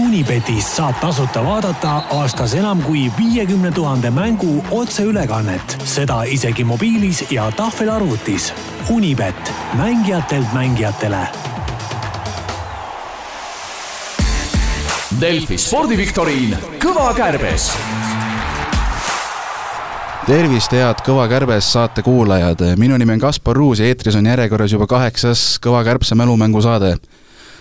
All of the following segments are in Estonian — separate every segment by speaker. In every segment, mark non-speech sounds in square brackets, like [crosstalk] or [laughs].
Speaker 1: Unibetis saab tasuta vaadata aastas enam kui viiekümne tuhande mängu otseülekannet, seda isegi mobiilis ja tahvelarvutis. Unibet, mängijatelt mängijatele.
Speaker 2: Delfi spordiviktoriin Kõva kärbes
Speaker 3: tervist, head Kõva Kärbes saate kuulajad, minu nimi on Kaspar Ruus ja eetris on järjekorras juba kaheksas Kõva Kärbse mälumängusaade.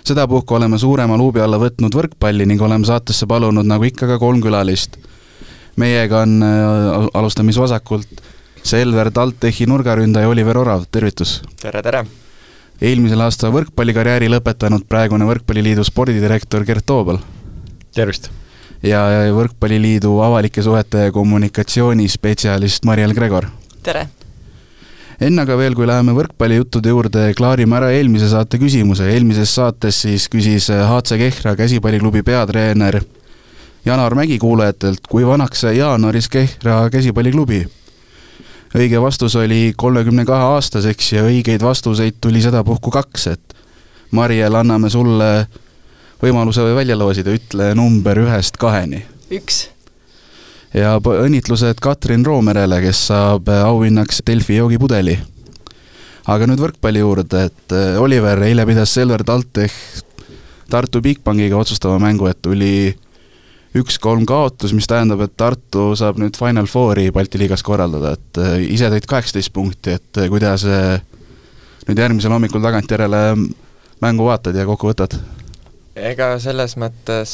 Speaker 3: sedapuhku oleme suurema luubi alla võtnud võrkpalli ning oleme saatesse palunud nagu ikka ka kolm külalist. meiega on äh, alustamise vasakult Selver TalTechi nurgaründaja Oliver Orav, tervitus!
Speaker 4: tere, tere!
Speaker 3: eelmisel aastal võrkpallikarjääri lõpetanud praegune Võrkpalliliidu spordidirektor Gert Toobal.
Speaker 5: tervist!
Speaker 3: ja Võrkpalliliidu avalike suhete ja kommunikatsioonispetsialist Mariel Gregor.
Speaker 6: tere!
Speaker 3: enne aga veel, kui läheme võrkpallijuttude juurde, klaarime ära eelmise saate küsimuse, eelmises saates siis küsis HC Kehra käsipalliklubi peatreener Janar Mägi kuulajatelt, kui vanaks sai jaanuaris Kehra käsipalliklubi? õige vastus oli kolmekümne kahe aastaseks ja õigeid vastuseid tuli sedapuhku kaks, et Mariel, anname sulle võimaluse või välja loosida, ütle number ühest kaheni.
Speaker 6: üks.
Speaker 3: ja õnnitlused Katrin Roomerele, kes saab auhinnaks Delfi joogipudeli. aga nüüd võrkpalli juurde, et äh, Oliver eile pidas Selver TalTech Tartu Bigbankiga otsustava mängu, et tuli üks-kolm kaotus, mis tähendab, et Tartu saab nüüd Final Fouri Balti liigas korraldada, et äh, ise tõid kaheksateist punkti, et äh, kuidas nüüd järgmisel hommikul tagantjärele mängu vaatad ja kokku võtad?
Speaker 4: ega selles mõttes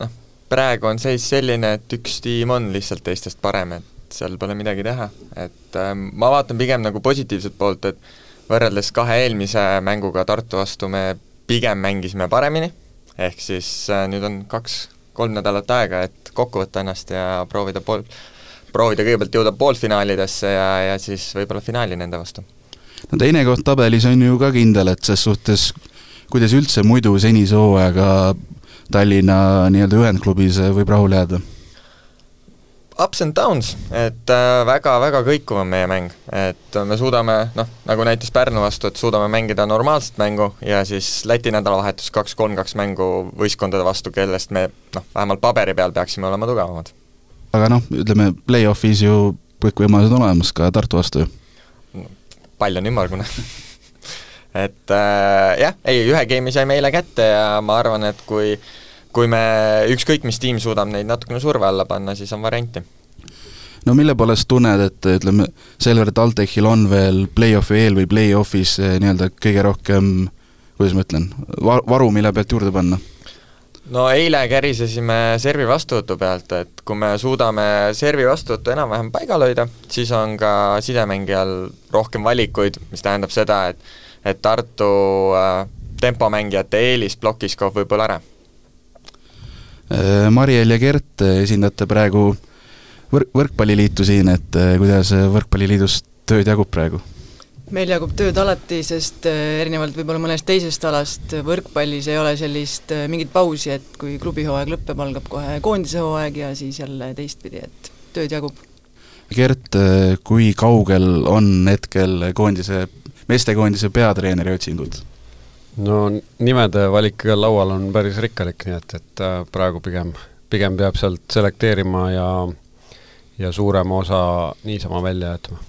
Speaker 4: noh, praegu on seis selline, et üks tiim on lihtsalt teistest parem, et seal pole midagi teha, et äh, ma vaatan pigem nagu positiivset poolt, et võrreldes kahe eelmise mänguga Tartu vastu me pigem mängisime paremini, ehk siis äh, nüüd on kaks-kolm nädalat aega, et kokku võtta ennast ja proovida pool, proovida kõigepealt jõuda poolfinaalidesse ja, ja siis võib-olla finaali nende vastu.
Speaker 3: no teine koht tabelis on ju ka kindel, et ses suhtes kuidas üldse muidu senise hooajaga Tallinna nii-öelda ühendklubis võib rahule jääda?
Speaker 4: Ups and downs, et väga-väga kõikuv on meie mäng, et me suudame noh, nagu näitas Pärnu vastu, et suudame mängida normaalset mängu ja siis Läti nädalavahetus kaks-kolm-kaks mängu võistkondade vastu, kellest me noh, vähemalt paberi peal peaksime olema tugevamad.
Speaker 3: aga noh, ütleme play-off'is ju kõik võimalused on olemas ka Tartu vastu ju
Speaker 4: no,. pall on ümmargune [laughs] et äh, jah, ei, ühe geimi saime eile kätte ja ma arvan, et kui kui me, ükskõik mis tiim suudab neid natukene surve alla panna, siis on variante.
Speaker 3: no mille poolest tunned, et ütleme, Selver TalTechil on veel play-off'i eel või play-off'is eh, nii-öelda kõige rohkem, kuidas ma ütlen, va-, varu, mille pealt juurde panna?
Speaker 4: no eile kärisesime servi vastuvõtu pealt, et kui me suudame servi vastuvõttu enam-vähem paigal hoida, siis on ka sidemängijal rohkem valikuid, mis tähendab seda, et et Tartu tempomängijate eelis plokis kaob võib-olla ära.
Speaker 3: Eh, Mariel ja Gert, esindate praegu võrk, võrkpalliliitu siin, et eh, kuidas Võrkpalliliidus tööd jagub praegu?
Speaker 6: meil jagub tööd alati, sest äh, erinevalt võib-olla mõnest teisest alast äh, võrkpallis ei ole sellist äh, mingit pausi, et kui klubihooaeg lõpeb, algab kohe koondise hooaeg ja siis jälle teistpidi, et tööd jagub.
Speaker 3: Gert, eh, kui kaugel on hetkel koondise meestekoondise peatreeneri otsingud?
Speaker 5: no nimede valik laual on päris rikkalik, nii et, et äh, praegu pigem, pigem peab sealt selekteerima ja ja suurema osa niisama välja jätma.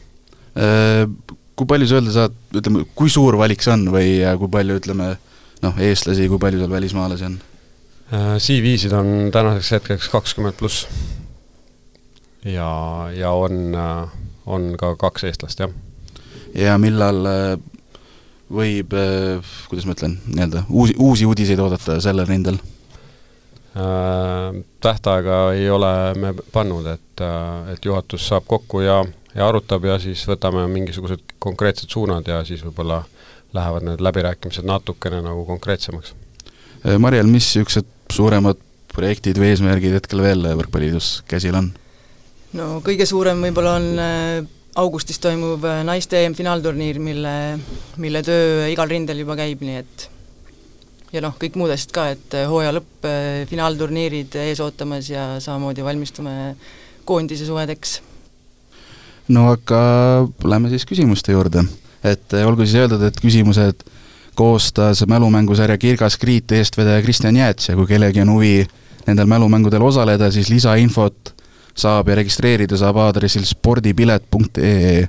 Speaker 3: Eh, Kui palju sa öelda saad, ütleme, kui suur valik see on või kui palju, ütleme, noh, eestlasi, kui palju seal välismaalasi on?
Speaker 5: Äh, CV-sid on tänaseks hetkeks kakskümmend pluss. ja, ja on, äh, on ka kaks eestlast, jah
Speaker 3: ja millal eh, võib, eh, kuidas ma ütlen, nii-öelda uusi, uusi uudiseid oodata sellel rindel
Speaker 5: äh,? Tähtaega ei ole me pannud, et, äh, et juhatus saab kokku ja, ja arutab ja siis võtame mingisugused konkreetsed suunad ja siis võib-olla lähevad need läbirääkimised natukene nagu konkreetsemaks.
Speaker 3: Mariel, Eh, mis niisugused suuremad projektid või eesmärgid hetkel veel Võrkpalliliidus käsil on?
Speaker 6: no kõige suurem võib-olla on äh, augustis toimuv äh, naiste EM-finaalturniir, mille, mille töö igal rindel juba käib, nii et ja noh, kõik muud asjad ka, et hooaja lõpp, äh, finaalturniirid ees ootamas ja samamoodi valmistume koondise suvedeks.
Speaker 3: no aga lähme siis küsimuste juurde, et eh, olgu siis öeldud, et küsimused koostas mälumängusarja Kirgas Kriit eestvedaja Kristjan Jääts ja kui kellelgi on huvi äh, nendel mälumängudel osaleda, siis lisainfot saab ja registreerida saab aadressil spordipilet.ee.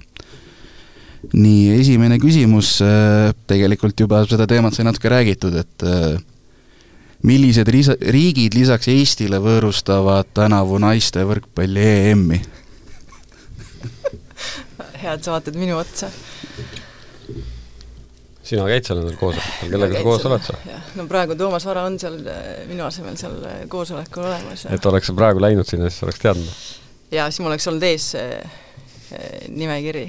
Speaker 3: nii, esimene küsimus, eh, tegelikult juba seda teemat sai natuke räägitud, et eh, millised risa-, riigid lisaks Eestile võõrustavad tänavu naiste võrkpalli E EM-i?
Speaker 6: head saated minu otsa.
Speaker 5: sina käid seal nendel koosolekutel, kellega sa koos oled seal?
Speaker 6: no praegu Toomas Vara on seal äh, minu asemel seal äh, koosolekul olemas ja,
Speaker 5: et oleks sa praegu läinud sinna , siis oleks teadnud .
Speaker 6: ja siis mul oleks olnud ees see äh, nimekiri .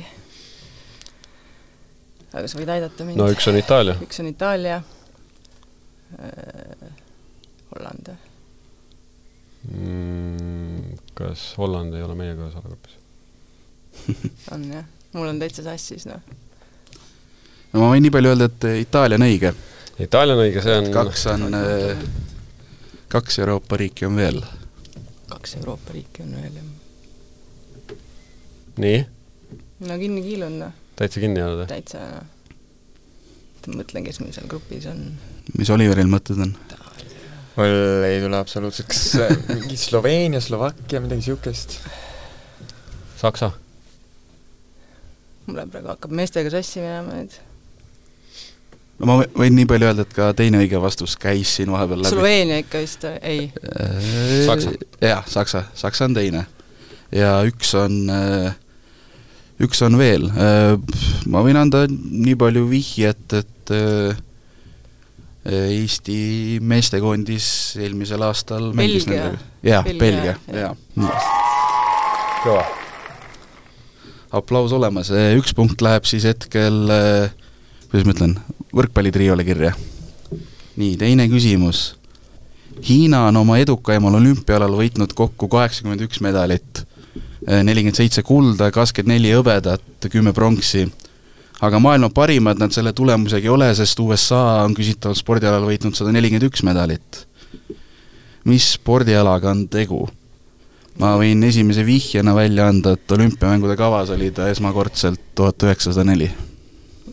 Speaker 6: aga sa võid aidata mind
Speaker 5: no üks on Itaalia ,
Speaker 6: üks on Itaalia äh, , Holland või ?
Speaker 5: Mm, kas Holland ei ole meiega ühes alagrupis ?
Speaker 6: on jah , mul on täitsa sassis noh .
Speaker 3: no ma võin nii palju öelda, et eh, Itaalia on õige,
Speaker 5: Itaalia on õige , see on
Speaker 3: kaks on , kaks Euroopa riiki on veel
Speaker 6: kaks Euroopa riiki on veel jah .
Speaker 5: nii ,
Speaker 6: no kinni kiil on noh ,
Speaker 5: täitsa kinni jäänud või ?
Speaker 6: täitsa noh . mõtlen , kes mul seal grupis on .
Speaker 3: mis Oliveril mõtted on ?
Speaker 4: mul ei tule absoluutselt , kas äh, mingi Sloveenia , Slovakkia , midagi niisugust .
Speaker 5: Saksa ,
Speaker 6: mul praegu hakkab meestega sassi minema nüüd .
Speaker 3: no ma võ- võin nii palju öelda , et ka teine õige vastus käis siin vahepeal läbi .
Speaker 6: Sloveenia ikka vist , ei ,
Speaker 5: Saksa. .
Speaker 3: jah , Saksa , Saksa on teine . ja üks on , üks on veel . ma võin anda nii palju vihjet , et äh, Eesti meestekoondis eelmisel aastal mängis
Speaker 6: Belgia.
Speaker 3: nendega . jah , Belgia
Speaker 6: Belgia, , jah.
Speaker 3: jaa .
Speaker 5: kõva .
Speaker 3: aplaus olemas , üks punkt läheb siis hetkel , kuidas ma ütlen , võrkpallitriole kirja . nii , teine küsimus . Hiina on oma edukaimal olümpialal võitnud kokku kaheksakümmend üks medalit , nelikümmend seitse kulda , kakskümmend neli hõbedat , kümme pronksi . aga maailma parimad nad selle tulemusega ei ole , sest USA on küsitaval spordialal võitnud sada nelikümmend üks medalit . mis spordialaga on tegu ? ma võin esimese vihjena välja anda , et olümpiamängude kavas oli ta esmakordselt tuhat üheksasada neli .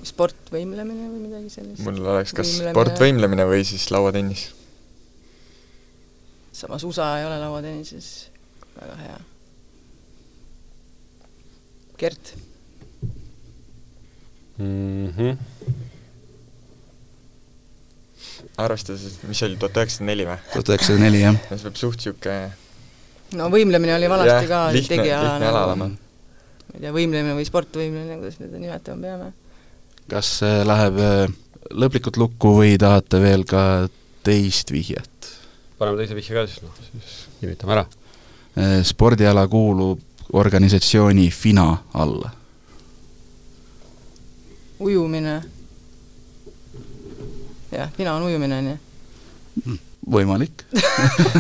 Speaker 6: sport , võimlemine või midagi sellist .
Speaker 4: mul oleks kas
Speaker 6: Võimlemine.
Speaker 4: sportvõimlemine või siis lauatennis .
Speaker 6: samas USA ei ole lauatennises väga hea . Gert ,
Speaker 5: Mhm.
Speaker 4: arvestades , et mis see oli , tuhat üheksasada neli või ?
Speaker 3: tuhat üheksasada neli , jah .
Speaker 4: see peab suht- niisugune
Speaker 6: no võimlemine oli vanasti ka
Speaker 4: jah, lihtne ,
Speaker 6: tegiala
Speaker 4: lihtne ala
Speaker 6: nagu ,
Speaker 4: olema .
Speaker 6: ma ei tea , võimlemine või sportvõimlemine , kuidas me seda nimetama peame .
Speaker 3: kas see läheb äh, lõplikult lukku või tahate veel ka teist vihjet ?
Speaker 5: paneme teise vihje ka siis , noh , siis kinnitame ära .
Speaker 3: Äh, spordiala kuulub organisatsiooni FINA alla .
Speaker 6: ujumine . jah , mina olen ujumine , on ju .
Speaker 3: võimalik .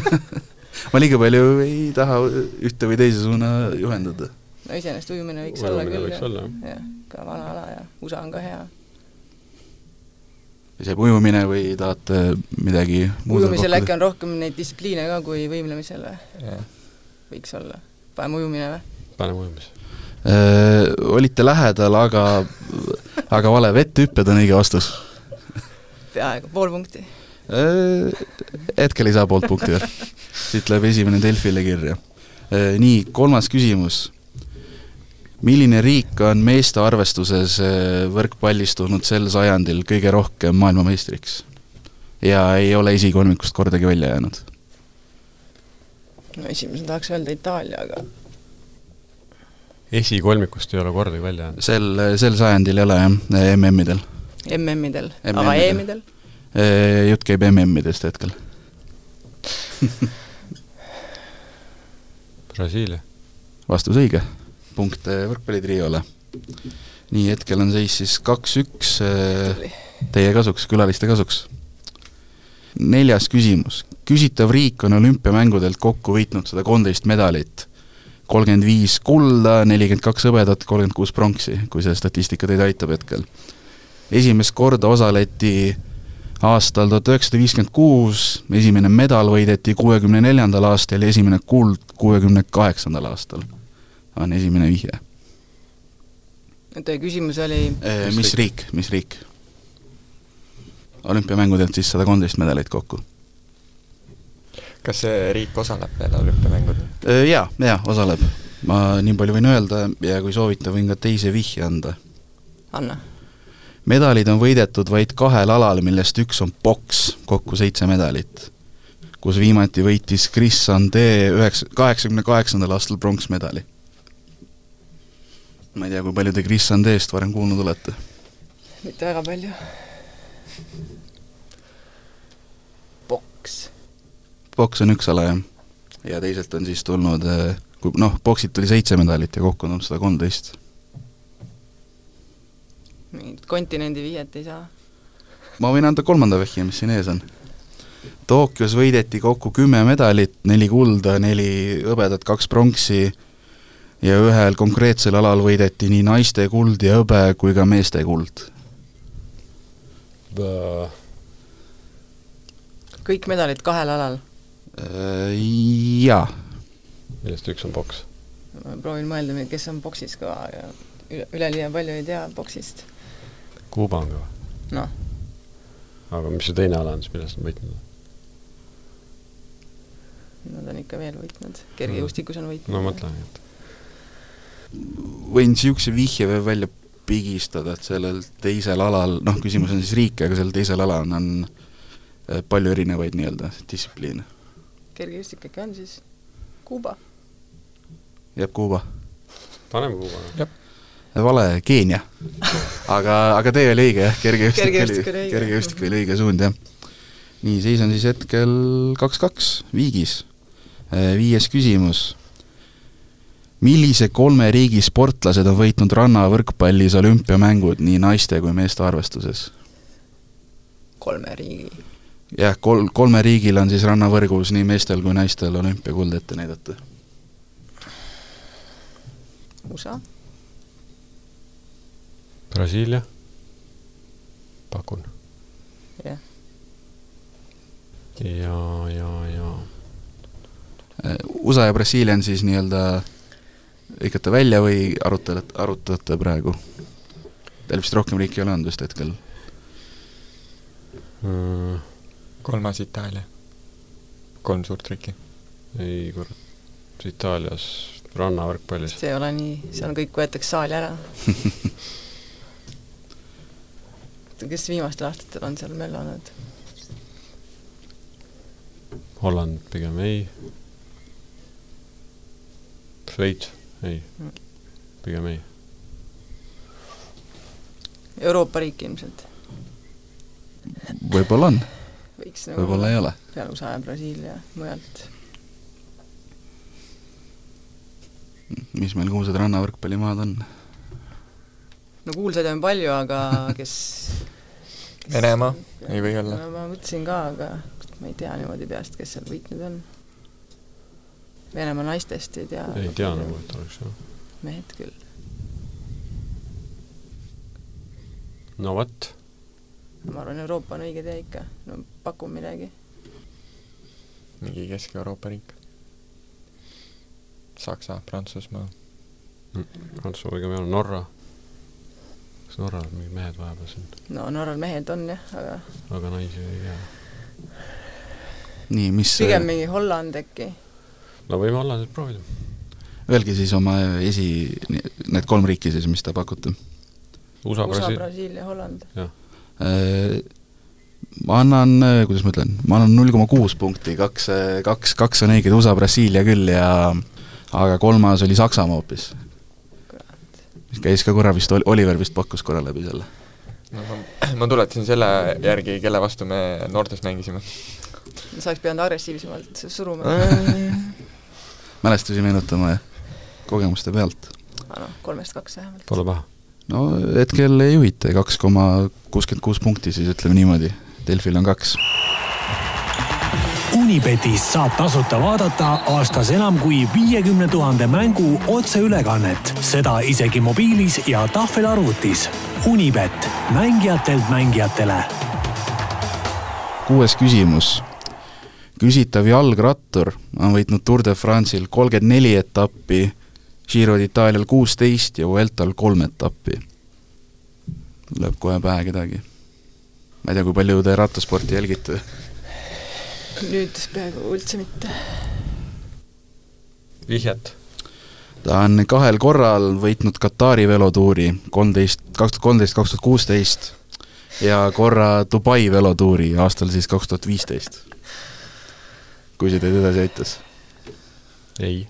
Speaker 3: [laughs] ma liiga palju ei taha ühte või teise suuna juhendada .
Speaker 6: no iseenesest ujumine võiks olla
Speaker 5: ujumine võiks
Speaker 6: küll ,
Speaker 5: olla , jah .
Speaker 6: jah , ka vana ala ja USA on ka hea .
Speaker 3: see ujumine või tahate midagi muud
Speaker 6: ujumisel äkki on rohkem neid distsipliine ka kui võimlemisel või ? võiks olla . paneme ujumine või ?
Speaker 5: paneme ujumisse .
Speaker 3: Öö, Äh, olite lähedal , aga , aga vale , vettehüpped on õige vastus .
Speaker 6: peaaegu pool punkti .
Speaker 3: Äh, Hetkel ei saa poolt punkti veel . siit läheb esimene Delfile kirja . nii , kolmas küsimus . milline riik on meeste arvestuses öö, võrkpallis tulnud sel sajandil kõige rohkem maailmameistriks ? ja ei ole esikolmikust kordagi välja jäänud .
Speaker 6: no esimesena tahaks öelda Itaalia , aga
Speaker 5: esikolmikust ei ole kordagi välja jäänud .
Speaker 3: sel , sel sajandil ei ole jah , MM-idel .
Speaker 6: MM-idel , aga E
Speaker 3: MM-idel.
Speaker 6: EM-idel
Speaker 3: Äh, jutt käib MM-idest hetkel .
Speaker 5: Brasiilia .
Speaker 3: vastus õige , punkt eh, võrkpallitriole . nii , hetkel on seis siis kaks-üks eh, teie kasuks , külaliste kasuks . neljas küsimus. küsitav riik on olümpiamängudelt kokku võitnud sada kolmteist medalit . kolmkümmend viis kulda , nelikümmend kaks hõbedat , kolmkümmend kuus pronksi , kui see statistika teid aitab hetkel . esimest korda osaleti aastal tuhat üheksasada viiskümmend kuus , esimene medal võideti kuuekümne neljandal aastal ja esimene kuld kuuekümne kaheksandal aastal on esimene vihje .
Speaker 6: no teie küsimus oli ,
Speaker 3: Äh, mis riik , mis riik ? olümpiamängudelt siis sada kolmteist medalit kokku .
Speaker 4: kas see riik osaleb veel olümpiamängudel?
Speaker 3: Äh, jaa , jaa , osaleb . ma nii palju võin öelda ja kui soovite , võin ka teise vihje anda .
Speaker 6: anna .
Speaker 3: medalid on võidetud vaid kahel alal , millest üks on poks , kokku seitse medalit . kus viimati võitis Chris Sande üheksa , kaheksakümne kaheksandal aastal pronksmedali . ma ei tea , kui palju te Chris Sandeest varem kuulnud olete ?
Speaker 6: mitte väga palju . poks .
Speaker 3: poks on üks ala , jah . ja teiselt on siis tulnud , kui noh , poksit tuli seitse medalit ja kokku on olnud sada kolmteist .
Speaker 6: mingit kontinendi viiet ei saa .
Speaker 3: ma võin anda kolmanda vehje , mis siin ees on . Tokyos võideti kokku kümme medalit , neli kulda , neli hõbedat , kaks pronksi ja ühel konkreetsel alal võideti nii naiste kuld ja hõbe kui ka meeste kuld .
Speaker 6: kõik medalid kahel alal .
Speaker 3: Äh, Jaa ,
Speaker 5: millest üks on poks .
Speaker 6: ma proovin mõelda , kes on poksis kõva , aga üle , üleliia palju ei tea poksist .
Speaker 5: Kuuba on ka või ?
Speaker 6: noh ,
Speaker 5: aga mis see teine ala on siis , millest on võitnud ?
Speaker 6: nad on ikka veel võitnud . kergejõustikus on võitnud .
Speaker 5: no mõtlen , et
Speaker 3: võin niisuguse vihje veel välja pigistada , et sellel teisel alal , noh , küsimus on siis riike , aga sellel teisel alal on, on eh, palju erinevaid nii-öelda distsipliine .
Speaker 6: kergejõustik ikka on siis Kuuba .
Speaker 3: jääb Kuuba .
Speaker 5: paneme Kuuba ära .
Speaker 3: vale , Keenia . aga , aga tee oli õige jah , kergejõustik oli
Speaker 6: Kergejõustik oli , õige.
Speaker 3: kergejõustik oli õige suund jah . nii , seis on siis hetkel kaks-kaks viigis . viies küsimus . millise kolme riigi sportlased on võitnud rannavõrkpallis olümpiamängud nii naiste kui meeste arvestuses ?
Speaker 6: kolme riigi .
Speaker 3: jah , kol- , kolme riigil on siis rannavõrgus nii meestel kui naistel olümpiakuld ette näidata .
Speaker 6: USA ,
Speaker 5: Brasiilia ? pakun .
Speaker 6: jah .
Speaker 5: ja , ja , ja
Speaker 3: USA ja Brasiilia on siis nii-öelda , lõikate välja või arutate , arutate praegu ? Teil vist rohkem riiki ei ole olnud vist hetkel ?
Speaker 5: mm, .
Speaker 4: kolmas Itaalia . kolm suurt riiki .
Speaker 5: ei kurat , Itaalias rannavõrkpallis
Speaker 6: see ei ole nii , seal kõik võetakse saali ära . kes viimastel aastatel on seal möllanud ?
Speaker 5: Holland pigem ei . Šveits , ei , pigem ei .
Speaker 6: Euroopa riik ilmselt .
Speaker 3: võib-olla on ,
Speaker 6: võiks nagu
Speaker 3: võib-olla ei ole .
Speaker 6: seal USA ja Brasiilia mujalt .
Speaker 3: mis meil kuulsad rannavõrkpallimaad on ?
Speaker 6: no kuulsaid on palju , aga kes, kes...
Speaker 4: Venemaa ei või olla .
Speaker 6: no ma mõtlesin ka , aga ma ei tea niimoodi peast , kes seal võitnud on . Venemaa naistest ei tea .
Speaker 5: ei tea nagu , et oleks jah .
Speaker 6: mehed küll .
Speaker 5: no vot ,
Speaker 6: ma arvan , Euroopa on õige tee ikka . no pakun midagi .
Speaker 4: mingi Kesk-Euroopa riik . Saksa , Prantsusmaa .
Speaker 5: Prantsusmaa pigem ei ole , Norra . kas Norral on mingid mehed vahepeal siin ,
Speaker 6: no Norral mehed on jah , aga
Speaker 5: aga naisi ei tea .
Speaker 3: nii , mis ,
Speaker 6: pigem mingi Holland äkki .
Speaker 5: no võime olla nüüd proovida .
Speaker 3: öelge siis oma esi , need kolm riiki siis , mis te pakute .
Speaker 5: USA ,
Speaker 6: USA ,
Speaker 5: Brasiilia ,
Speaker 6: Brasiilia , Holland .
Speaker 3: Äh, ma annan , kuidas ma ütlen , ma annan null koma kuus punkti , kaks , kaks , kaks on õiged , USA , Brasiilia küll ja aga kolmas oli Saksamaa hoopis . mis käis ka korra vist , Oliver vist pakkus korra läbi selle .
Speaker 4: no ma , [clears throat] ma tuletasin selle järgi , kelle vastu me noortes mängisime .
Speaker 6: saaks pidanud agressiivsemalt suruma .
Speaker 3: mälestusi meenutama ja kogemuste pealt .
Speaker 6: aga noh , kolmest kaks vähemalt .
Speaker 5: pole paha .
Speaker 3: no hetkel juhite kaks koma kuuskümmend kuus punkti siis ütleme niimoodi , Delfil on kaks .
Speaker 1: Unibetis saab tasuta vaadata aastas enam kui viiekümne tuhande mängu otseülekannet , seda isegi mobiilis ja tahvelarvutis . Unibet , mängijatelt mängijatele
Speaker 3: kuues küsimus . küsitav jalgrattur on võitnud Tour de France'il kolmkümmend neli etappi , Giro d'Itaalial kuusteist ja Vueltal kolm etappi . lööb kohe pähe kedagi . ma ei tea , kui palju te rattasporti jälgite .
Speaker 7: nüüd peaaegu üldse mitte .
Speaker 5: vihjet
Speaker 3: ta on kahel korral võitnud Katari velotuuri, kolmteist, kaks tuhat kolmteist, kaks tuhat kuusteist ja korra Dubai velotuuri aastal siis kaks tuhat viisteist. kui see teid edasi aitas .
Speaker 5: ei .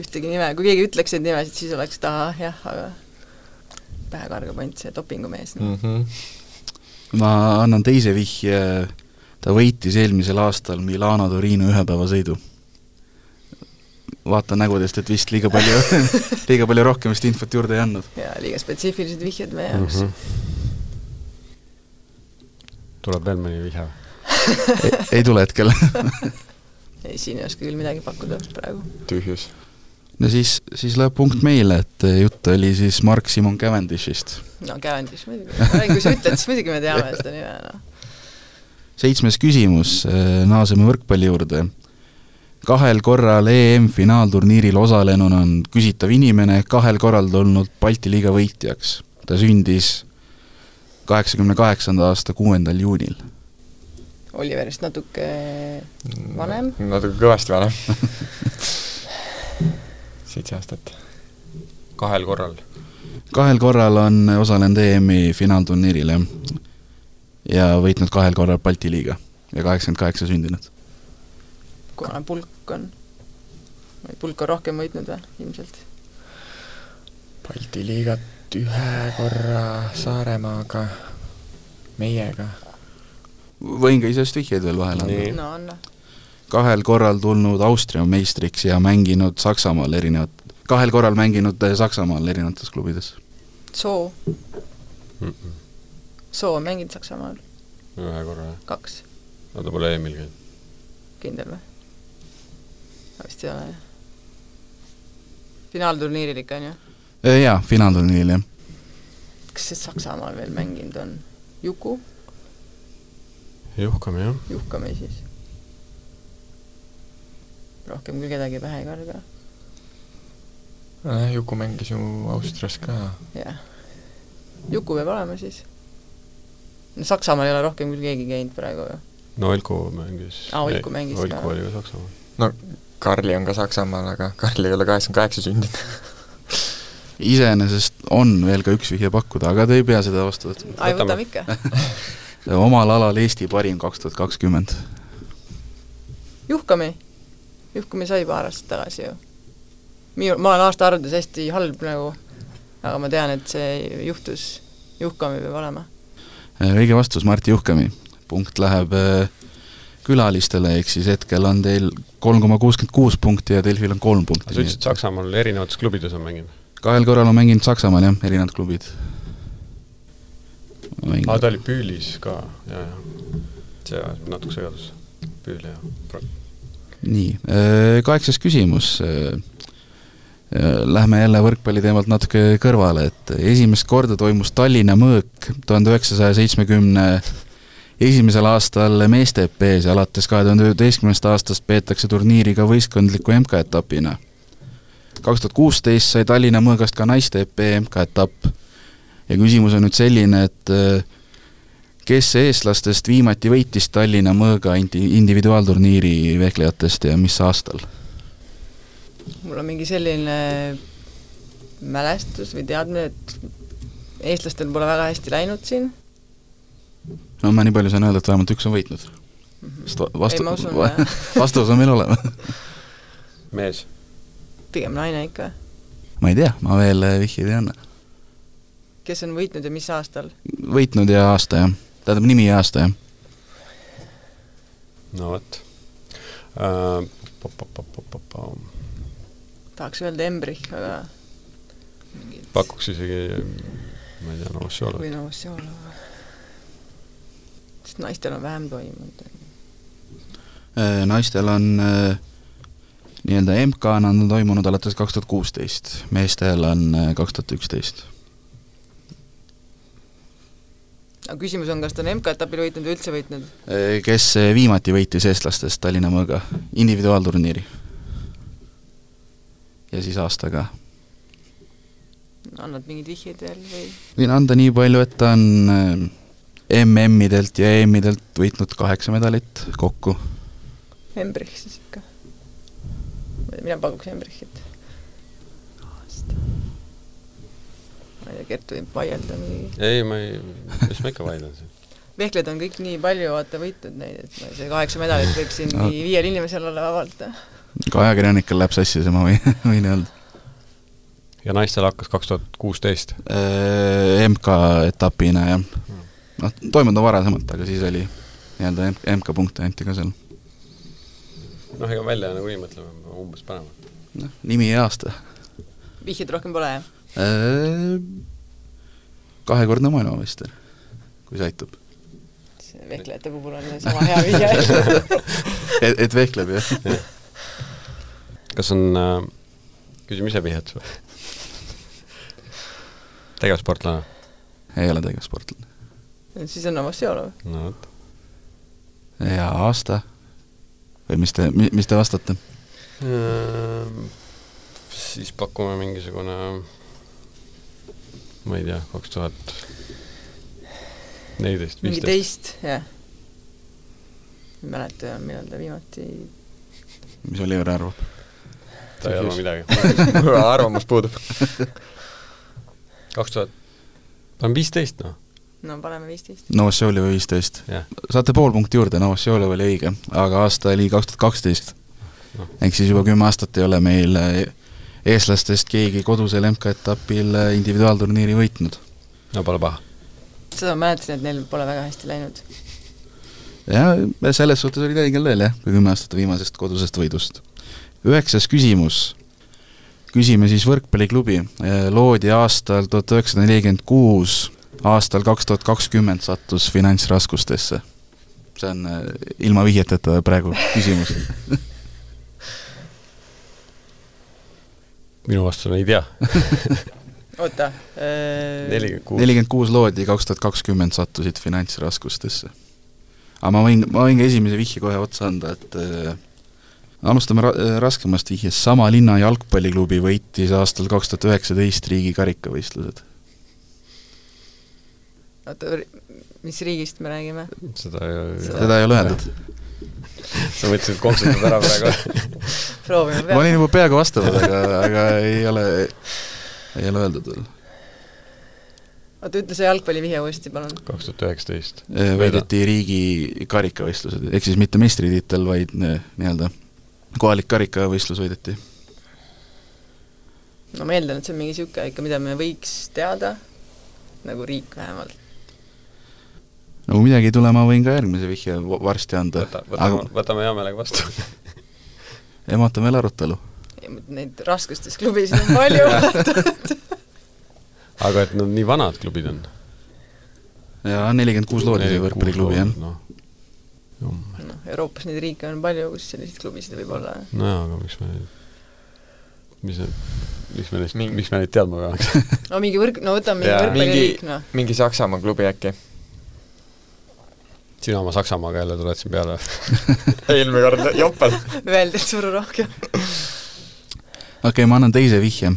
Speaker 6: ühtegi nime , kui keegi ütleks neid nimesid , siis oleks ta jah , aga pähe kargab ainult see dopingumees mm. .
Speaker 4: Mhm.
Speaker 3: ma annan teise vihje , ta võitis eelmisel aastal Milano-Torino ühepäevasõidu . vaatan nägudest , et vist liiga [laughs] palju , liiga palju rohkem vist infot juurde ei andnud .
Speaker 6: ja liiga spetsiifilised vihjed meie jaoks mm .
Speaker 5: tuleb veel mõni vihje ?
Speaker 3: ei tule hetkel
Speaker 6: -hmm. ei , siin ei oska küll midagi pakkuda praegu .
Speaker 4: tühjus .
Speaker 3: no siis , siis läheb punkt meile , et jutt oli siis Mark Simon Cavendishist .
Speaker 6: no Cavendish muidugi , ma räägin , kui sa ütled , siis muidugi me teame seda nime , noh .
Speaker 3: seitsmes küsimus , naaseme võrkpalli juurde . kahel korral E EM-finaalturniiril osalenud on küsitav inimene , kahel korral tulnud Balti liiga võitjaks . ta sündis kaheksakümne kaheksanda aasta kuuendal juunil .
Speaker 6: Oliverist natuke vanem ,
Speaker 4: natuke kõvasti [laughs] vanem . seitse aastat .
Speaker 5: kahel korral .
Speaker 3: kahel korral on osalenud EM-i finaalturniiril , jah . ja võitnud kahel korral Balti liiga ja kaheksakümmend kaheksa sündinud .
Speaker 6: kui vana pulk on ? või pulk on rohkem võitnud või , ilmselt ?
Speaker 4: Balti liigat ühe korra Saaremaaga , meiega .
Speaker 3: võin ka ise just vihjeid veel vahele anda
Speaker 5: Nii. .
Speaker 6: no anna .
Speaker 3: kahel korral tulnud Austria meistriks ja mänginud Saksamaal erinevat , kahel korral mänginud eh, Saksamaal erinevates klubides .
Speaker 6: Soo . Soo on mänginud Saksamaal ,
Speaker 5: ühe korra , jah .
Speaker 6: kaks ,
Speaker 5: no ta pole EM-il käinud .
Speaker 6: kindel või ? vist ei ole jah . finaalturniiril ikka on ju ?
Speaker 3: E, jaa , finaalturniiril jah .
Speaker 6: kes see Saksamaal veel mänginud on ? Juku ,
Speaker 5: juhkame , jah .
Speaker 6: Juhkame siis . rohkem küll kedagi pähe ei karga ,
Speaker 4: Äh, Juku mängis ju Austrias ka .
Speaker 6: jah . Juku peab olema siis . no Saksamaal ei ole rohkem küll keegi käinud praegu ju .
Speaker 5: no Olku mängis .
Speaker 6: Aa, Olku mängis ka.
Speaker 5: Olku oli ka Saksamaal .
Speaker 4: no Karli on ka Saksamaal , aga Karl ei ole kaheksakümmend kaheksa sündinud . [laughs]
Speaker 3: iseenesest on veel ka üks vihje pakkuda , aga te ei pea seda vastu võtma .
Speaker 6: ai , võtame
Speaker 5: Võtame.
Speaker 6: ikka .
Speaker 3: omal alal Eesti parim kaks tuhat kakskümmend .
Speaker 6: Juhkami , Juhkami sai paar aastat tagasi ju . minu , ma olen aastaarvudes hästi halb nagu , aga ma tean , et see juhtus , Juhkami peab olema .
Speaker 3: E, õige vastus Martti Juhkami . punkt läheb eh, külalistele , ehk siis hetkel on teil kolm koma kuuskümmend kuus punkti ja Delfil on kolm
Speaker 5: sa
Speaker 3: punkti .
Speaker 5: ütlesid , Saksamaal erinevates klubides on mänginud ?
Speaker 3: kahel korral on mänginud Saksamaal jah , erinevad klubid .
Speaker 5: aa , ta oli Püülis ka , jaa , jaa . see ajab natuke segadusse . Püül ja Prag .
Speaker 3: nii , kaheksas küsimus . Lähme jälle võrkpalliteemalt natuke kõrvale , et esimest korda toimus Tallinna mõõk tuhande üheksasaja seitsmekümne esimesel aastal meeste EP-s ja alates kahe tuhande üheteistkümnendast aastast peetakse turniiri ka võistkondliku MK-etapina . kaks tuhat kuusteist sai Tallinna mõõgast ka naiste E EP MK-etapp ja küsimus on nüüd selline , et äh, öö, kes eestlastest viimati võitis Tallinna mõõga indi- , individuaalturniiri vehklejatest ja mis aastal ?
Speaker 6: mul on mingi selline mälestus või teadmine , et eestlastel pole väga hästi läinud siin .
Speaker 3: no ma nii palju saan öelda , et vähemalt üks on võitnud . sest va-
Speaker 6: ei ,
Speaker 3: vastu
Speaker 6: ma , usun , jah ,
Speaker 3: [laughs] vastus on meil olemas .
Speaker 5: mees .
Speaker 6: pigem naine ikka .
Speaker 3: ma ei tea , ma veel eh, vihjeid ei anna .
Speaker 6: kes on võitnud ja mis aastal ?
Speaker 3: võitnud ja aasta jah , tähendab nimi ja aasta jah .
Speaker 5: no vot . Äh,
Speaker 6: tahaks öelda Embrich , aga
Speaker 5: pakuks isegi , ma ei tea , Novosjolov
Speaker 6: või . noh , see on , sest naistel on vähem toimunud .
Speaker 3: naistel on eh, nii-öelda MK-na on toimunud alates kaks tuhat kuusteist , meestel on eh, kaks tuhat üksteist .
Speaker 6: aga küsimus on , kas ta on MK-etapil võitnud või üldse võitnud ?
Speaker 3: kes eh, viimati võitis eestlastest Tallinna mõõga individuaalturniiri ? ja siis aastaga
Speaker 6: annad mingeid vihjeid veel või ?
Speaker 3: võin anda nii palju , et ta on äh, MM-idelt ja EM-idelt võitnud kaheksa medalit kokku .
Speaker 7: Embrich siis ikka . mina pakuks Embrichit . ma ei tea , Gert võib vaielda mingi .
Speaker 5: ei , ma ei , mis ma ikka vaidlen siin .
Speaker 6: vehklejad on kõik nii palju , vaata , võitnud neid , et ma ei tea , kaheksa medalit võib siin mingi viiel inimesel olla vabalt .
Speaker 3: ka ajakirjanikel läheb sassi see , ma võin , [laughs] võin öelda .
Speaker 5: ja naistel hakkas kaks tuhat kuusteist .
Speaker 3: Eh, MK-etapina jah . noh , toimunud on varasemalt , aga siis oli nii-öelda M- MK-punkte anti ka seal .
Speaker 5: noh , ega välja nagu ei mõtle , umbes panevad .
Speaker 3: noh , nimi ja aasta .
Speaker 6: vihjeid rohkem pole , jah ?
Speaker 3: kahekordne maailmameister , kui see aitab .
Speaker 6: see vehklejate puhul on sama hea vihje .
Speaker 3: et , et vehkleb jah ?
Speaker 5: kas on äh, , küsime ise vihjet [laughs] või ? tegevsportlane ?
Speaker 3: ei ole tegevsportlane .
Speaker 6: siis on Novosjolov .
Speaker 5: no vot .
Speaker 3: ja aasta ? või mis te , mis te vastate ?
Speaker 5: Ehm, siis pakume mingisugune , ma ei tea , kaks tuhat neliteist ,
Speaker 6: mingi
Speaker 5: viisteist .
Speaker 6: teist , jah . ei mäleta , millal ta viimati ,
Speaker 3: mis Oliver arvab ?
Speaker 5: ta ei arva midagi .
Speaker 4: mul arvamus puudub .
Speaker 5: kaks tuhat , ta on viisteist noh ,
Speaker 6: no paneme viisteist .
Speaker 3: Novosjoljev viisteist .
Speaker 5: jah .
Speaker 3: saate pool punkti juurde , Novosjoljev oli õige , aga aasta oli kaks tuhat kaksteist
Speaker 5: Noh. .
Speaker 3: ehk siis juba kümme aastat ei ole meil eh, eestlastest keegi kodusel MK-etapil eh, individuaalturniiri võitnud .
Speaker 5: no pole paha .
Speaker 6: seda ma mäletasin , et neil pole väga hästi läinud .
Speaker 3: ja selles suhtes olid õigel teel jah , kui kümme aastat viimasest kodusest võidust . üheksas küsimus . küsime siis võrkpalliklubi , loodi aastal tuhat üheksasada nelikümmend kuus , aastal kaks tuhat kakskümmend sattus finantsraskustesse . see on eh, ilma vihjeteta praegu küsimus
Speaker 5: minu vastus on ei tea .
Speaker 6: oota . äh,
Speaker 5: nelikümmend kuus .
Speaker 3: nelikümmend kuus loodi , kaks tuhat kakskümmend sattusid finantsraskustesse . aga ma võin , ma võin ka esimese vihje kohe otsa anda , et äh, alustame ra- äh, raskemast vihjest , sama linna jalgpalliklubi võitis aastal kaks tuhat üheksateist riigi karikavõistlused .
Speaker 6: oota , mis riigist me räägime ?
Speaker 5: seda ei ,
Speaker 3: seda ei ole öeldud .
Speaker 5: sa võtsid kopsutad ära praegu .
Speaker 6: proovime
Speaker 3: ma
Speaker 6: peale .
Speaker 3: olin juba peaaegu vastanud , aga , aga ei ole , ei ole öeldud veel .
Speaker 6: oota , ütle see jalgpallivihje uuesti , palun .
Speaker 5: kaks tuhat üheksateist .
Speaker 3: Äh, võideti riigi karikavõistlused , ehk siis mitte meistritiitel , vaid ne- nii-öelda kohalik karikavõistlus võideti .
Speaker 6: no ma eeldan , et see on mingi niisugune ikka , mida me võiks teada , nagu riik vähemalt .
Speaker 3: no kui Nagu midagi ei tule , ma võin ka järgmise vihje va- varsti anda .
Speaker 5: võta , võtame , võtame hea meelega vastu .
Speaker 3: ja me ootame jälle arutelu .
Speaker 6: Neid raskustes klubisid on
Speaker 5: [laughs]
Speaker 6: palju .
Speaker 5: aga et nad nii vanad klubid on .
Speaker 3: jaa , nelikümmend kuus loodi see võrkpalliklubi , jah .
Speaker 5: noh ,
Speaker 6: noh , Euroopas neid riike on palju , kus selliseid klubisid võib olla .
Speaker 5: nojah , aga miks me nüüd , mis need , miks me neist ,
Speaker 4: Mingi-
Speaker 5: miks me neid teadma peaks ?
Speaker 6: no mingi võrk- , no võtame mingi
Speaker 5: Jaa.
Speaker 6: võrkpalliriik , noh .
Speaker 4: mingi Saksamaa klubi äkki .
Speaker 5: sina oma Saksamaaga jälle tuled siin peale .
Speaker 4: [laughs] eelmine kord jopel .
Speaker 6: Öeldi , et suru rohkem .
Speaker 3: okei okay, , ma annan teise vihje .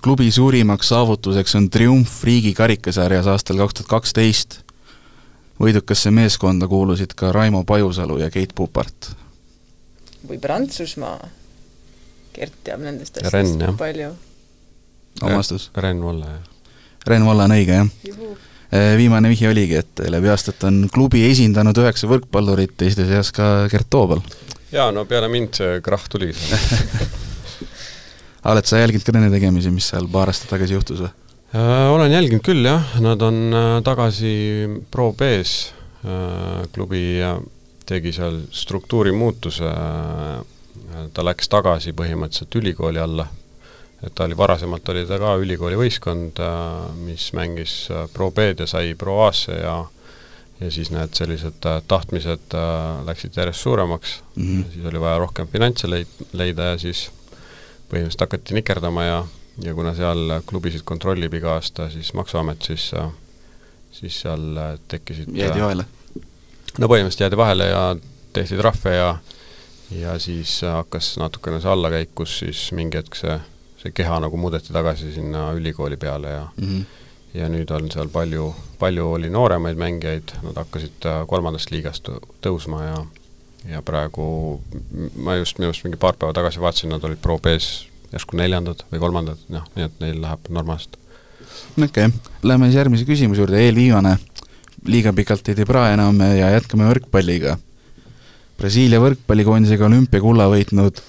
Speaker 3: klubi suurimaks saavutuseks on triumf riigi karikasarjas aastal kaks tuhat kaksteist . võidukasse meeskonda kuulusid ka Raimo Pajusalu ja Keit Pupart .
Speaker 6: või Prantsusmaa . Gert teab nendest
Speaker 5: Ja Renn,
Speaker 6: asjadest
Speaker 5: jah.
Speaker 6: palju .
Speaker 3: on
Speaker 5: Jah.
Speaker 3: vastus ?
Speaker 5: Renn Volle , jah .
Speaker 3: Rein Valla on õige , jah . viimane vihje oligi , et läbi aastate on klubi esindanud üheksa võrkpallurit , teiste seas ka Gert Toobal .
Speaker 5: jaa , no peale mind see krahh tuli .
Speaker 3: oled sa jälginud ka nende tegemisi , mis seal paar aastat tagasi juhtus või ?
Speaker 5: Äh, olen jälginud küll , jah , nad on äh, tagasi Pro B-s äh, klubi ja tegi seal struktuurimuutuse , ta läks tagasi põhimõtteliselt ülikooli alla , et ta oli , varasemalt oli ta ka ülikooli võistkond , mis mängis äh, Pro B-d ja sai Pro A-sse ja ja siis need sellised äh, tahtmised äh, läksid järjest suuremaks
Speaker 3: Mhm.
Speaker 5: mm. , siis oli vaja rohkem finantse leid- , leida ja siis põhimõtteliselt hakati nikerdama ja , ja kuna seal klubisid kontrollib iga aasta siis Maksuamet , siis , siis seal äh, tekkisid
Speaker 3: jäid joele ?
Speaker 5: no põhimõtteliselt jäädi vahele ja tehti trahve ja ja siis hakkas natukene see allakäik , kus siis mingi hetk see , see keha nagu muudeti tagasi sinna ülikooli peale ja
Speaker 3: mm . -hmm.
Speaker 5: ja nüüd on seal palju, palju oli nooremaid mängijaid, nad hakkasid äh, kolmandast liigast tõ- tõusma ja ja praegu m- ma just minu arust mingi paar päeva tagasi vaatasin, nad olid Pro B-s järsku neljandad või kolmandad, noh, nii et neil läheb normaalselt .
Speaker 3: okei okay. , lähme siis järgmise küsimuse juurde , eelviimane . liiga pikalt ei tee prae enam ja jätkame võrkpalliga . Brasiilia võrkpallikoondisega olümpiakulla võitnud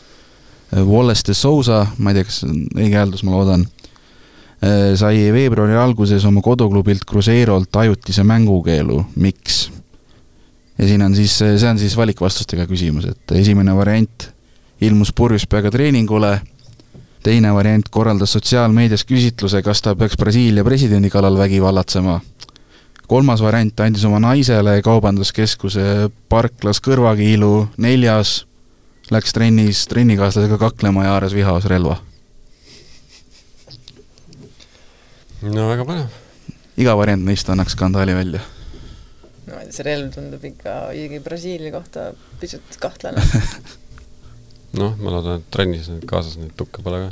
Speaker 3: eh, Wallace de Sousa , ma ei tea , kas see on õige hääldus , ma loodan , sai veebruari alguses oma koduklubilt Cruzeirolt ajutise mängukeelu , miks ? ja siin on siis , see on siis valikvastustega küsimus , et esimene variant ilmus purjus peaga treeningule teine variant korraldas sotsiaalmeedias küsitluse , kas ta peaks Brasiilia presidendi kallal vägivallatsema . kolmas variant andis oma naisele kaubanduskeskuse parklas kõrvakiilu , neljas läks trennis trennikaaslasega kaklema ja haaras vihaosrelva .
Speaker 5: no väga põnev .
Speaker 3: iga variant neist annaks skandaali välja .
Speaker 6: no ma ei tea , see relv tundub ikka isegi Brasiilia kohta pisut kahtlane .
Speaker 5: noh , ma loodan , et trennis nüüd kaasas neid tukke pole ka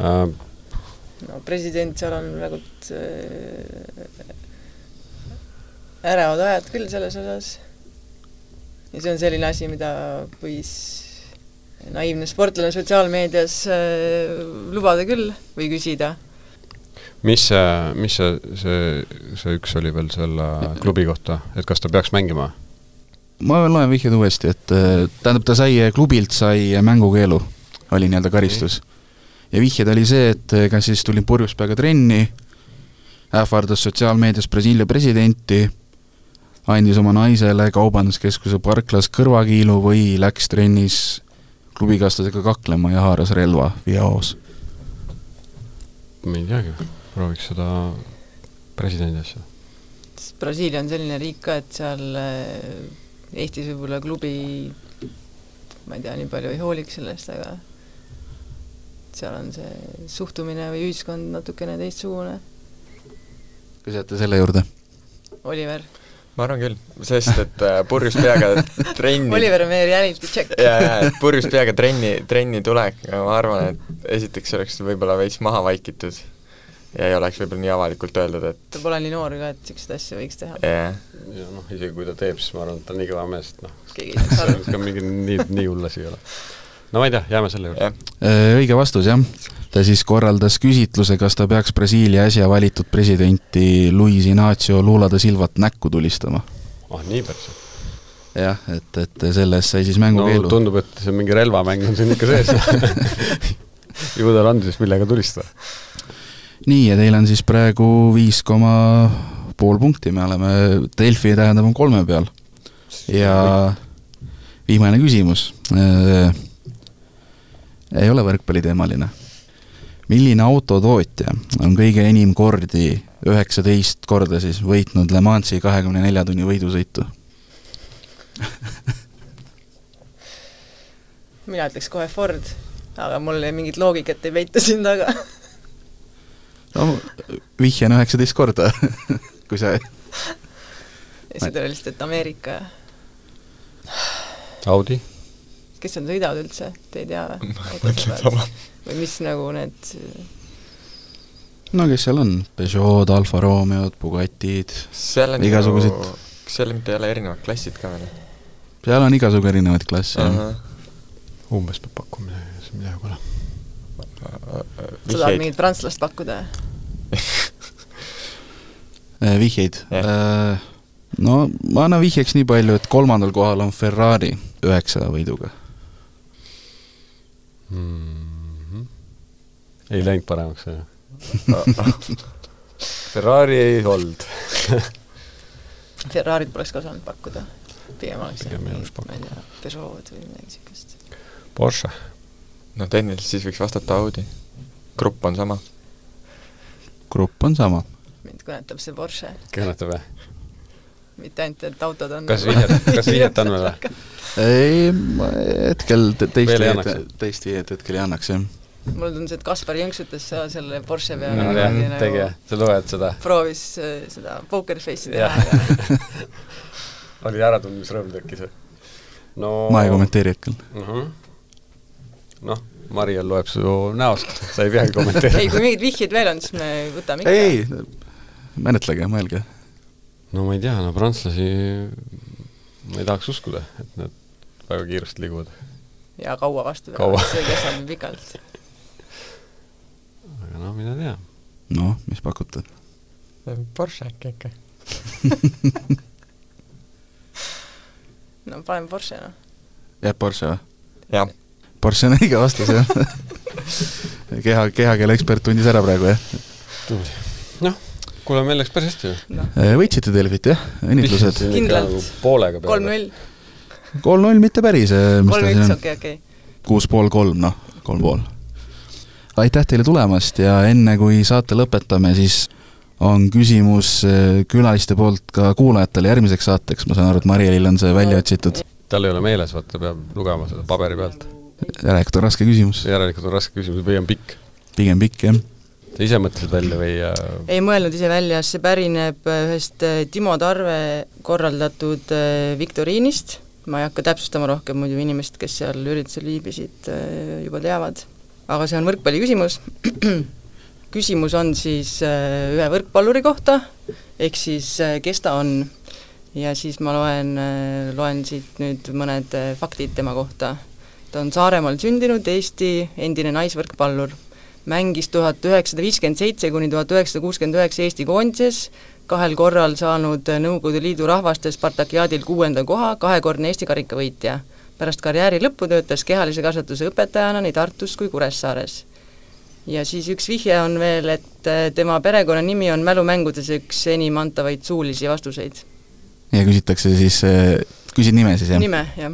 Speaker 5: äh, .
Speaker 6: no president seal on nagu äh, ärevad ajad küll selles osas . ja see on selline asi , mida võis naiivne sportlane sotsiaalmeedias äh, lubada küll või küsida .
Speaker 5: mis see , mis see , see , see üks oli veel selle klubi kohta , et kas ta peaks mängima ?
Speaker 3: ma veel loen vihjed uuesti , et eh, tähendab , ta sai eh, klubilt , sai eh, mängukeelu , oli nii-öelda karistus . ja vihjed oli see , et eh, kas siis tuli purjus peaga trenni , ähvardas sotsiaalmeedias Brasiilia presidenti , andis oma naisele kaubanduskeskuse parklas kõrvakiilu või läks trennis klubikaaslasega kaklema ja haaras relva veoos .
Speaker 5: ma ei teagi , prooviks seda presidendi asja .
Speaker 6: sest Brasiilia on selline riik ka , et seal äh, Eestis võib-olla klubi , ma ei tea , nii palju ei hooliks sellest , aga seal on see suhtumine või ühiskond natukene teistsugune .
Speaker 3: kas jääte selle juurde ?
Speaker 6: Oliver ,
Speaker 4: ma arvan küll , sest et äh, purjus peaga trenni
Speaker 6: Oliver on meie reality check .
Speaker 4: ja , ja , et purjus peaga trenni , trenni tulek , ma arvan , et esiteks oleks võib-olla veits maha vaikitud ja ei oleks võib-olla nii avalikult öeldud , et
Speaker 6: ta pole nii noor ka , et niisuguseid asju võiks teha .
Speaker 4: jah ,
Speaker 5: ja noh , isegi kui ta teeb , siis ma arvan , et ta on nii kõva mees , [laughs] et noh ,
Speaker 6: keegi ei saa aru .
Speaker 5: ka mingi nii , nii hull asi ei ole . no ma ei tea , jääme selle juurde .
Speaker 4: jah .
Speaker 3: Äh, õige vastus , jah . ta siis korraldas küsitluse , kas ta peaks Brasiilia äsja valitud presidenti Luiz Inacio Lula da Silvat näkku tulistama .
Speaker 5: ah nii päris .
Speaker 3: jah , et , et selle eest sai siis
Speaker 5: no
Speaker 3: mängukeelu no, .
Speaker 5: tundub , et see mingi relvamäng on siin ikka [laughs] sees . ju tal on siis millega tulistada .
Speaker 3: nii , ja teil on siis praegu viis koma pool punkti , me oleme , Delfi tähendab , on kolme peal . ja viimane küsimus . ei ole võrkpalliteemaline . milline autotootja on kõige enim kordi , üheksateist korda siis võitnud Le Mansi kahekümne nelja tunni võidusõitu ?
Speaker 6: mina ütleks kohe Ford , aga mul mingit loogikat ei peita siin taga .
Speaker 5: [laughs]
Speaker 3: no vihje on üheksateist korda , [laughs] kui sa ,
Speaker 6: lihtsalt ei ole lihtsalt , et Ameerika ,
Speaker 5: Audi ?
Speaker 6: kes seal sõidavad üldse , te ei tea või ?
Speaker 4: sama .
Speaker 6: või mis nagu need ,
Speaker 3: no kes seal on , Peugeot , Alfa Romeod , Bugattid ,
Speaker 4: seal on
Speaker 3: Igasugused-
Speaker 4: nagu- kas seal mitte ei ole erinevad klassid ka veel
Speaker 3: seal on igasugu erinevaid klasse uh . -huh.
Speaker 4: Ahah.
Speaker 5: umbes peab pakkuma midagi , siis midagi pole .
Speaker 6: sa tahad
Speaker 4: vihjeid ,
Speaker 6: mingit prantslast pakkuda ?
Speaker 3: Äh, vihjeid
Speaker 4: Jah.
Speaker 3: yeah. ? no ma annan vihjeks nii palju , et kolmandal kohal on Ferrari üheksa võiduga .
Speaker 5: Mhm. ei läinud paremaks , on ju ? [laughs] Ferrari ei olnud .
Speaker 6: Ferrarit poleks ka osanud pakkuda . pigem oleks jah
Speaker 5: Pigem ei oleks ,
Speaker 6: ma ei tea , Peugeot või midagi niisugust .
Speaker 5: Porsche .
Speaker 4: no tehniliselt siis võiks vastata Audi . grupp on sama .
Speaker 3: grupp on sama .
Speaker 6: mind kõnetab see Porsche ,
Speaker 5: kõnetab jah ?
Speaker 6: mitte ainult , et autod on nagu-
Speaker 5: kas vihjet , kas vihjet on [laughs] veel või ?
Speaker 3: ei , ma hetkel te- teist
Speaker 5: Veel ei
Speaker 3: vihjet
Speaker 5: annaks. ,
Speaker 3: teist vihjet hetkel ei annaks , jah .
Speaker 6: mulle tundus , et Kaspar jõnksutas seal selle Porsche peale
Speaker 5: no jah
Speaker 6: kuidagi ,
Speaker 5: tegi
Speaker 6: nagu
Speaker 5: jah , sa loed seda .
Speaker 6: proovis äh, seda poker face'i teha
Speaker 5: Jah. ,
Speaker 6: aga
Speaker 5: [laughs] oli äratundmisrõõm tekkis või ? no
Speaker 3: ma ei kommenteeri hetkel .
Speaker 5: uh -huh. noh , Mariel loeb su näost , sa ei peagi kommenteerima
Speaker 6: ei , kui mingeid vihjeid veel on , siis me võtame ikka .
Speaker 3: ei , menetlege , mõelge .
Speaker 5: no ma ei tea , no prantslasi ma ei tahaks uskuda , et nad väga kiiresti liiguvad ,
Speaker 6: ja kaua vastu
Speaker 5: Kaua. .
Speaker 6: see kestab ju pikalt .
Speaker 5: aga no mine tea .
Speaker 3: noh , mis pakute ?
Speaker 4: Porsche äkki ikka .
Speaker 6: no paneme Porsche , noh .
Speaker 3: jääb Porsche või ?
Speaker 4: jah ,
Speaker 3: Porsche on õige vastus , jah . [laughs] keha , kehakeele ekspert tundis ära praegu , jah .
Speaker 5: noh , kuule , meil läks päris hästi ju .
Speaker 3: võitsite Delfit , jah ? õnnitlused .
Speaker 6: Kindlalt.
Speaker 5: poolega peale .
Speaker 6: kolm-null ,
Speaker 3: kolm-null , mitte päris , mis ta siin
Speaker 6: kolm-üks ,
Speaker 3: on .
Speaker 6: okei , okei .
Speaker 3: kuus pool kolm , noh , kolm pool . aitäh teile tulemast ja enne kui saate lõpetame , siis on küsimus eh, külaliste poolt ka kuulajatele järgmiseks saateks , ma saan aru , et Marielil on see välja otsitud .
Speaker 5: tal ei ole meeles , vaata , peab lugema seda paberi pealt .
Speaker 3: järelikult on raske küsimus ,
Speaker 5: järelikult on raske küsimus või on pikk .
Speaker 3: pigem pikk jah .
Speaker 5: sa ise mõtlesid välja või äh,
Speaker 6: ei mõelnud ise välja , see pärineb äh, ühest Timo Tarve korraldatud äh, viktoriinist , ma ei hakka täpsustama rohkem , muidu inimesed , kes seal üritusel viibisid , juba teavad . aga see on võrkpalliküsimus . [clears throat] küsimus on siis äh, ühe võrkpalluri kohta , ehk siis äh, kes ta on . ja siis ma loen , loen siit nüüd mõned äh, faktid tema kohta . ta on Saaremaal sündinud Eesti endine naisvõrkpallur mängis tuhat üheksasada viiskümmend seitse kuni tuhat üheksasada kuuskümmend üheksa Eesti koondises , kahel korral saanud Nõukogude Liidu rahvaste Spartakiaadil kuuenda koha , kahekordne Eesti karikavõitja . pärast karjääri lõppu töötas kehalise kasvatuse õpetajana nii Tartus kui Kuressaares . ja siis üks vihje on veel , et äh, tema perekonnanimi on mälumängudes üks enim antavaid suulisi vastuseid .
Speaker 3: ja küsitakse siis , küsid nime siis jah ?
Speaker 6: nime , jah .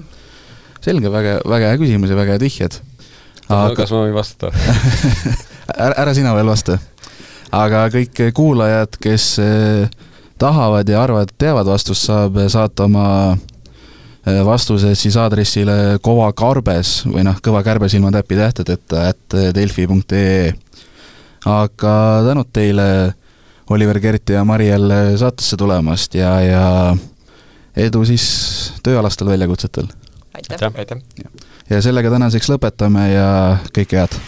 Speaker 3: selge , väga , väga hea küsimus ja väga head vihjed . aga
Speaker 5: kas ma võin vastata ?
Speaker 3: [laughs] ära, ära sina veel vasta . aga kõik kuulajad , kes eh, tahavad ja arvavad , et teavad vastust , saab saata oma eh, vastuse siis aadressile kovakarbes või noh , kõvakärbes ilma täpitähtedeta , et delfi.ee . aga tänud teile , Oliver , Gert ja Mariel saatesse tulemast ja , ja edu siis tööalastel väljakutsetel .
Speaker 6: aitäh .
Speaker 4: aitäh .
Speaker 3: ja sellega tänaseks lõpetame ja kõike head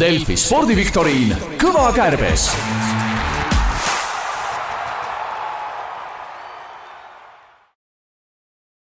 Speaker 2: Delfi spordiviktoriin Kõva kärbes